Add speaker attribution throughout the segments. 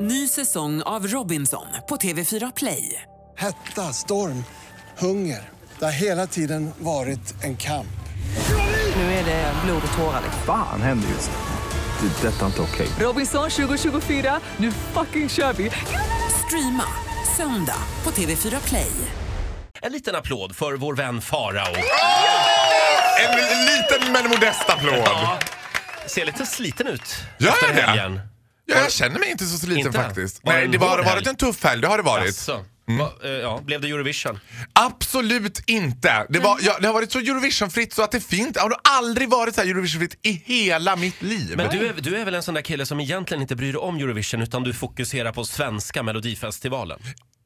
Speaker 1: Ny säsong av Robinson på TV4 Play.
Speaker 2: Hetta, storm, hunger. Det har hela tiden varit en kamp.
Speaker 1: Nu är det blod och tårar. liksom.
Speaker 3: Fan händer just nu. Det. är Detta är inte okej.
Speaker 1: Robinson 2024, nu fucking kör vi! Streama söndag på TV4 Play.
Speaker 4: En liten applåd för vår vän Farao.
Speaker 5: En liten men modest applåd.
Speaker 4: Ja, ser lite sliten ut
Speaker 5: Gör
Speaker 4: efter
Speaker 5: jag det?
Speaker 4: helgen.
Speaker 5: Ja, jag känner mig inte så sliten
Speaker 4: Inte?
Speaker 5: faktiskt.
Speaker 4: Var det
Speaker 5: Nej,
Speaker 4: en
Speaker 5: det var-
Speaker 4: hård
Speaker 5: har varit
Speaker 4: helg?
Speaker 5: en tuff helg, det har det varit. Mm.
Speaker 4: Jaså? Va, eh, ja, blev det Eurovision?
Speaker 5: Absolut inte. Det, var, ja, det har varit så Eurovisionfritt så att det finns, har nog aldrig varit så här Eurovisionfritt i hela mitt liv.
Speaker 4: Men du är, du är väl en sån där kille som egentligen inte bryr dig om Eurovision utan du fokuserar på svenska melodifestivalen?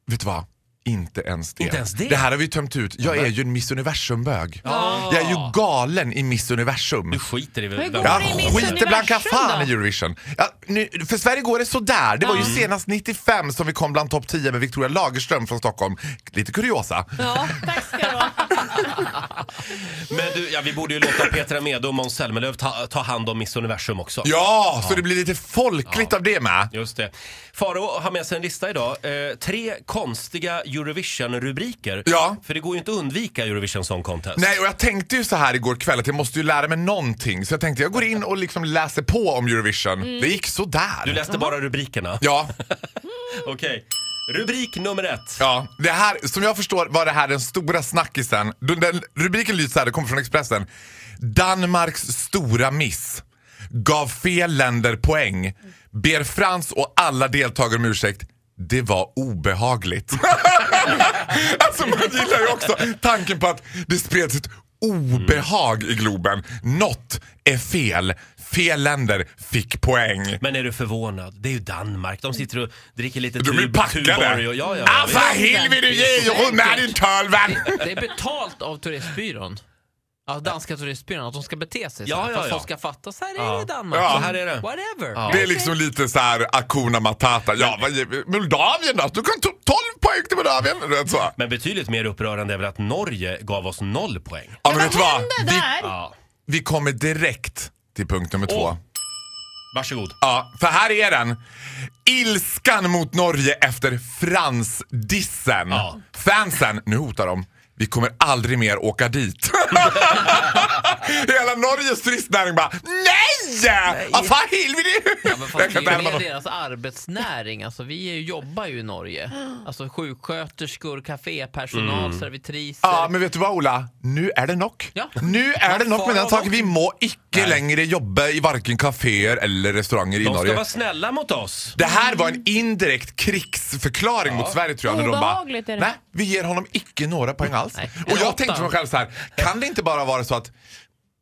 Speaker 5: Vet du vad? Inte ens det.
Speaker 4: Inte ens det?
Speaker 5: här har vi tömt ut. Jag är ju en Miss Universum-bög. Jag är ju galen i Miss Universum.
Speaker 4: Du skiter i vem...
Speaker 6: går
Speaker 5: Jag
Speaker 6: det i Miss
Speaker 5: skiter blanka
Speaker 6: Universum
Speaker 5: fan
Speaker 6: då?
Speaker 5: i Eurovision. Ja, nu, för Sverige går det sådär. Det var ju senast 95 som vi kom bland topp 10 med Victoria Lagerström från Stockholm. Lite kuriosa.
Speaker 6: Ja, tack ska du ha.
Speaker 4: Men du, ja, vi borde ju låta Petra Mede och Måns Zelmerlöw ta, ta hand om Miss Universum också.
Speaker 5: Ja, så det blir lite folkligt av det med.
Speaker 4: Just det. Faro har med sig en lista idag. Eh, tre konstiga Eurovision-rubriker.
Speaker 5: Ja.
Speaker 4: För det går ju inte att undvika Eurovision Song Contest.
Speaker 5: Nej, och jag tänkte ju så här igår kväll att jag måste ju lära mig någonting. Så jag tänkte jag går in och liksom läser på om Eurovision.
Speaker 6: Mm.
Speaker 5: Det gick sådär.
Speaker 4: Du läste bara rubrikerna.
Speaker 5: Ja,
Speaker 4: Okej. Rubrik nummer ett.
Speaker 5: ja. Det här, som jag förstår var det här den stora snackisen. Den, den, rubriken lyder så här, det kommer från Expressen. Danmarks stora miss. Gav fel länder poäng. Ber Frans och alla deltagare om ursäkt. Det var obehagligt. alltså man gillar ju också tanken på att det spreds ett obehag i Globen. Något är fel. Fel länder fick poäng.
Speaker 4: Men är du förvånad? Det är ju Danmark. De sitter och dricker lite
Speaker 5: De är
Speaker 4: Tuborg
Speaker 5: packade.
Speaker 4: och... Ja, ja,
Speaker 5: Ah,
Speaker 4: visst.
Speaker 5: vad helvete, ge hon är din tölvan!
Speaker 7: Det är betalt av turistbyrån. Ja, danska turistbyrån, att de ska bete sig
Speaker 4: Ja,
Speaker 7: så här,
Speaker 4: ja,
Speaker 7: för att
Speaker 4: ja.
Speaker 7: folk ska fatta. Så här är
Speaker 4: Ja.
Speaker 7: det i Danmark.
Speaker 5: Ja.
Speaker 7: Så
Speaker 4: Här är det.
Speaker 7: Whatever.
Speaker 5: Det är liksom lite så här Akuna Matata. Ja, vad ger vi? Moldavien då? Du kan ta 12 poäng till Moldavien. Du vet så.
Speaker 4: Men betydligt mer upprörande är väl att Norge gav oss noll poäng.
Speaker 5: Ja, men vet du vad?
Speaker 6: hände
Speaker 5: Vi,
Speaker 6: där?
Speaker 4: Ja.
Speaker 5: vi kommer direkt till punkt nummer två.
Speaker 4: Åh. Varsågod.
Speaker 5: Ja, för här är den. Ilskan mot Norge efter Frans-dissen.
Speaker 4: Ja.
Speaker 5: Fansen, nu hotar de. Vi kommer aldrig mer åka dit. Hela Norges turistnäring bara NEJ! Nej! Ah, fan, helvete!
Speaker 7: Ja, men fan,
Speaker 5: Jag
Speaker 7: det
Speaker 5: kan inte
Speaker 7: är
Speaker 5: härma
Speaker 7: ju
Speaker 5: dem.
Speaker 7: mer deras arbetsnäring. Alltså, vi är ju, jobbar ju i Norge. Alltså sjuksköterskor, kafépersonal,
Speaker 4: Mm.
Speaker 7: servitriser.
Speaker 5: Ja, men vet du vad Ola? Nu är det nog.
Speaker 7: Ja.
Speaker 5: Nu är det nog med den saken. Vi må icke längre jobba i varken kaféer eller restauranger i
Speaker 4: De ska
Speaker 5: Norge.
Speaker 4: vara snälla mot oss.
Speaker 5: Det här var en indirekt krigsförklaring mot Sverige tror jag. När de bara,
Speaker 6: Obehagligt är det.
Speaker 5: Nej, vi ger honom icke några poäng alls.
Speaker 7: Nej.
Speaker 5: Och jag
Speaker 7: Åtta.
Speaker 5: tänkte för mig själv så här, kan det inte bara vara så att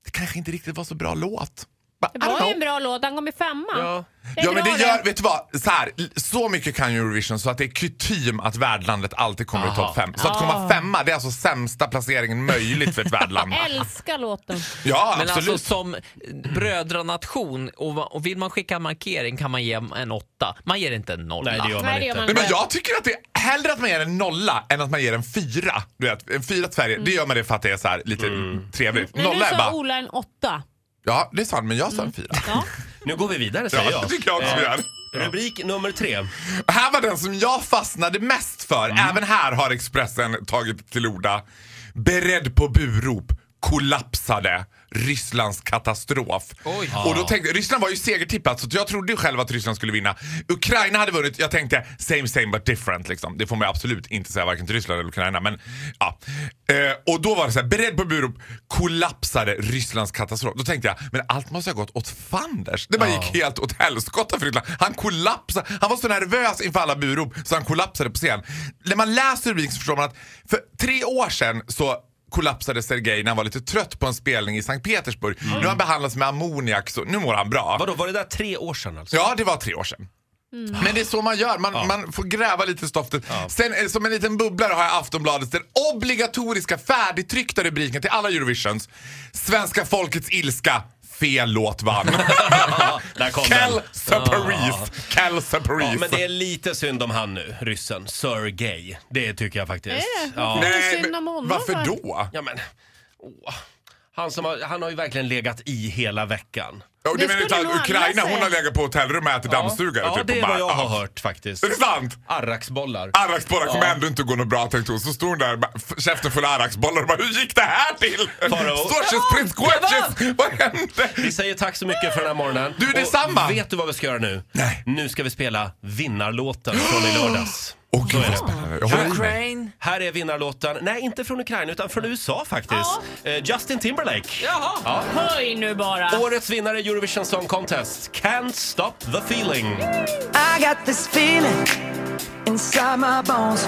Speaker 5: det kanske inte riktigt var så bra låt? Bara, I
Speaker 6: Det
Speaker 5: don't
Speaker 6: var
Speaker 5: know.
Speaker 6: ju en bra låt, han kom i femma.
Speaker 4: Ja.
Speaker 6: Det är
Speaker 5: Ja men
Speaker 6: bra
Speaker 5: det gör, vet du vad? Så, här, l- så mycket kan ju Eurovision så att det är kutym att värdlandet alltid kommer i topp fem. Så att
Speaker 6: Ah.
Speaker 5: komma femma det är alltså sämsta placeringen möjligt för ett värdland.
Speaker 6: Älskar låten.
Speaker 5: Ja
Speaker 7: Men
Speaker 5: absolut.
Speaker 7: alltså som brödranation, och, va- och vill man skicka en markering kan man ge en åtta. Man ger inte en nolla.
Speaker 4: Nej, det gör man
Speaker 6: Nej, det gör
Speaker 4: inte.
Speaker 6: man
Speaker 5: Nej, men jag tycker att det är hellre att man ger en nolla än att man ger en fyra. Du vet, en fyra till Sverige, det gör man det för att det är så här lite
Speaker 7: Mm.
Speaker 5: trevligt.
Speaker 6: Men
Speaker 5: Nolla
Speaker 6: du
Speaker 5: är
Speaker 6: sa
Speaker 5: bara,
Speaker 6: Ola en åtta.
Speaker 5: ja det är sant men jag sa en fyra.
Speaker 6: Ja.
Speaker 4: Nu går vi vidare säger
Speaker 5: Ja,
Speaker 4: jag. Eh,
Speaker 5: det tycker jag också vi gör.
Speaker 4: Rubrik nummer tre.
Speaker 5: Här var den som jag fastnade mest för. Även här har Expressen tagit till orda. Beredd på burop. Kollapsade. Rysslands katastrof.
Speaker 7: Oj.
Speaker 5: Och då tänkte, Ryssland var ju segertippat så jag trodde ju själv att Ryssland skulle vinna. Ukraina hade vunnit. Jag tänkte same same but different. Liksom. Det får man ju absolut inte säga varken till Ryssland eller Ukraina. Men, ja. eh, och då var det så här, beredd på burop. Kollapsade Rysslands katastrof. Då tänkte jag, men allt måste ha gått åt fanders. Det bara
Speaker 4: Ja.
Speaker 5: gick helt åt helskotta för Ryssland. Han kollapsade. Han var så nervös inför alla burop så han kollapsade på scen. När man läser rubriken så förstår man att för tre år sedan så kollapsade Sergej när han var lite trött på en spelning i Sankt Petersburg. Nu har han behandlats med ammoniak så nu mår han bra.
Speaker 4: Vadå, var det där tre år sedan alltså?
Speaker 5: Ja, det var tre år sedan.
Speaker 4: Mm.
Speaker 5: Men det är så man gör, man, man får gräva lite i stoftet. Sen eh, som en liten bubblare har jag Aftonbladets den obligatoriska färdigtryckta rubriken till alla Eurovisions. Svenska folkets ilska, fel låt vann.
Speaker 4: Där kom
Speaker 5: Kel
Speaker 4: den.
Speaker 5: Separis. Kel Separis.
Speaker 4: Ja, men det är lite synd om han nu, ryssen. Sergej. Det tycker jag faktiskt.
Speaker 6: Är det?
Speaker 4: Ja.
Speaker 6: Varför? Det är synd om honom,
Speaker 5: varför
Speaker 6: va?
Speaker 5: då?
Speaker 4: ja, men... Åh. Han, som har, han har ju verkligen legat i hela veckan.
Speaker 5: Ja, och
Speaker 6: Det
Speaker 5: du menar
Speaker 6: skulle
Speaker 5: inte
Speaker 6: nog alla
Speaker 5: att Ukraina, hon
Speaker 6: säga.
Speaker 5: har legat på hotellrum och ätit dammsugare?
Speaker 4: Ja,
Speaker 5: typ,
Speaker 4: det
Speaker 5: och
Speaker 4: är
Speaker 5: bara,
Speaker 4: vad jag har
Speaker 5: "Ah."
Speaker 4: hört faktiskt.
Speaker 5: Är det sant?
Speaker 4: Arraksbollar.
Speaker 5: Arraksbollar kommer ändå inte gå något bra tänkte hon. Så stod hon där med f- käften full av arraksbollar och bara hur gick det här till?
Speaker 4: Farao.
Speaker 5: Storches prins Guaches, vad hände?
Speaker 4: Vi säger tack så mycket för den här morgonen.
Speaker 5: Du, detsamma.
Speaker 4: Och Vet du vad vi ska göra nu?
Speaker 5: Nej.
Speaker 4: Nu ska vi spela vinnarlåten från i lördags.
Speaker 5: Åh gud
Speaker 4: är det.
Speaker 5: vad spännande. Jag håller i mig.
Speaker 8: Ukraine.
Speaker 4: Här är vinnarlåten, nej inte från Ukraina utan från USA faktiskt. Eh, Justin Timberlake.
Speaker 6: Höj nu bara.
Speaker 4: Årets vinnare i Eurovision Song Contest, Can't Stop The Feeling.
Speaker 8: I got this feeling inside my bones.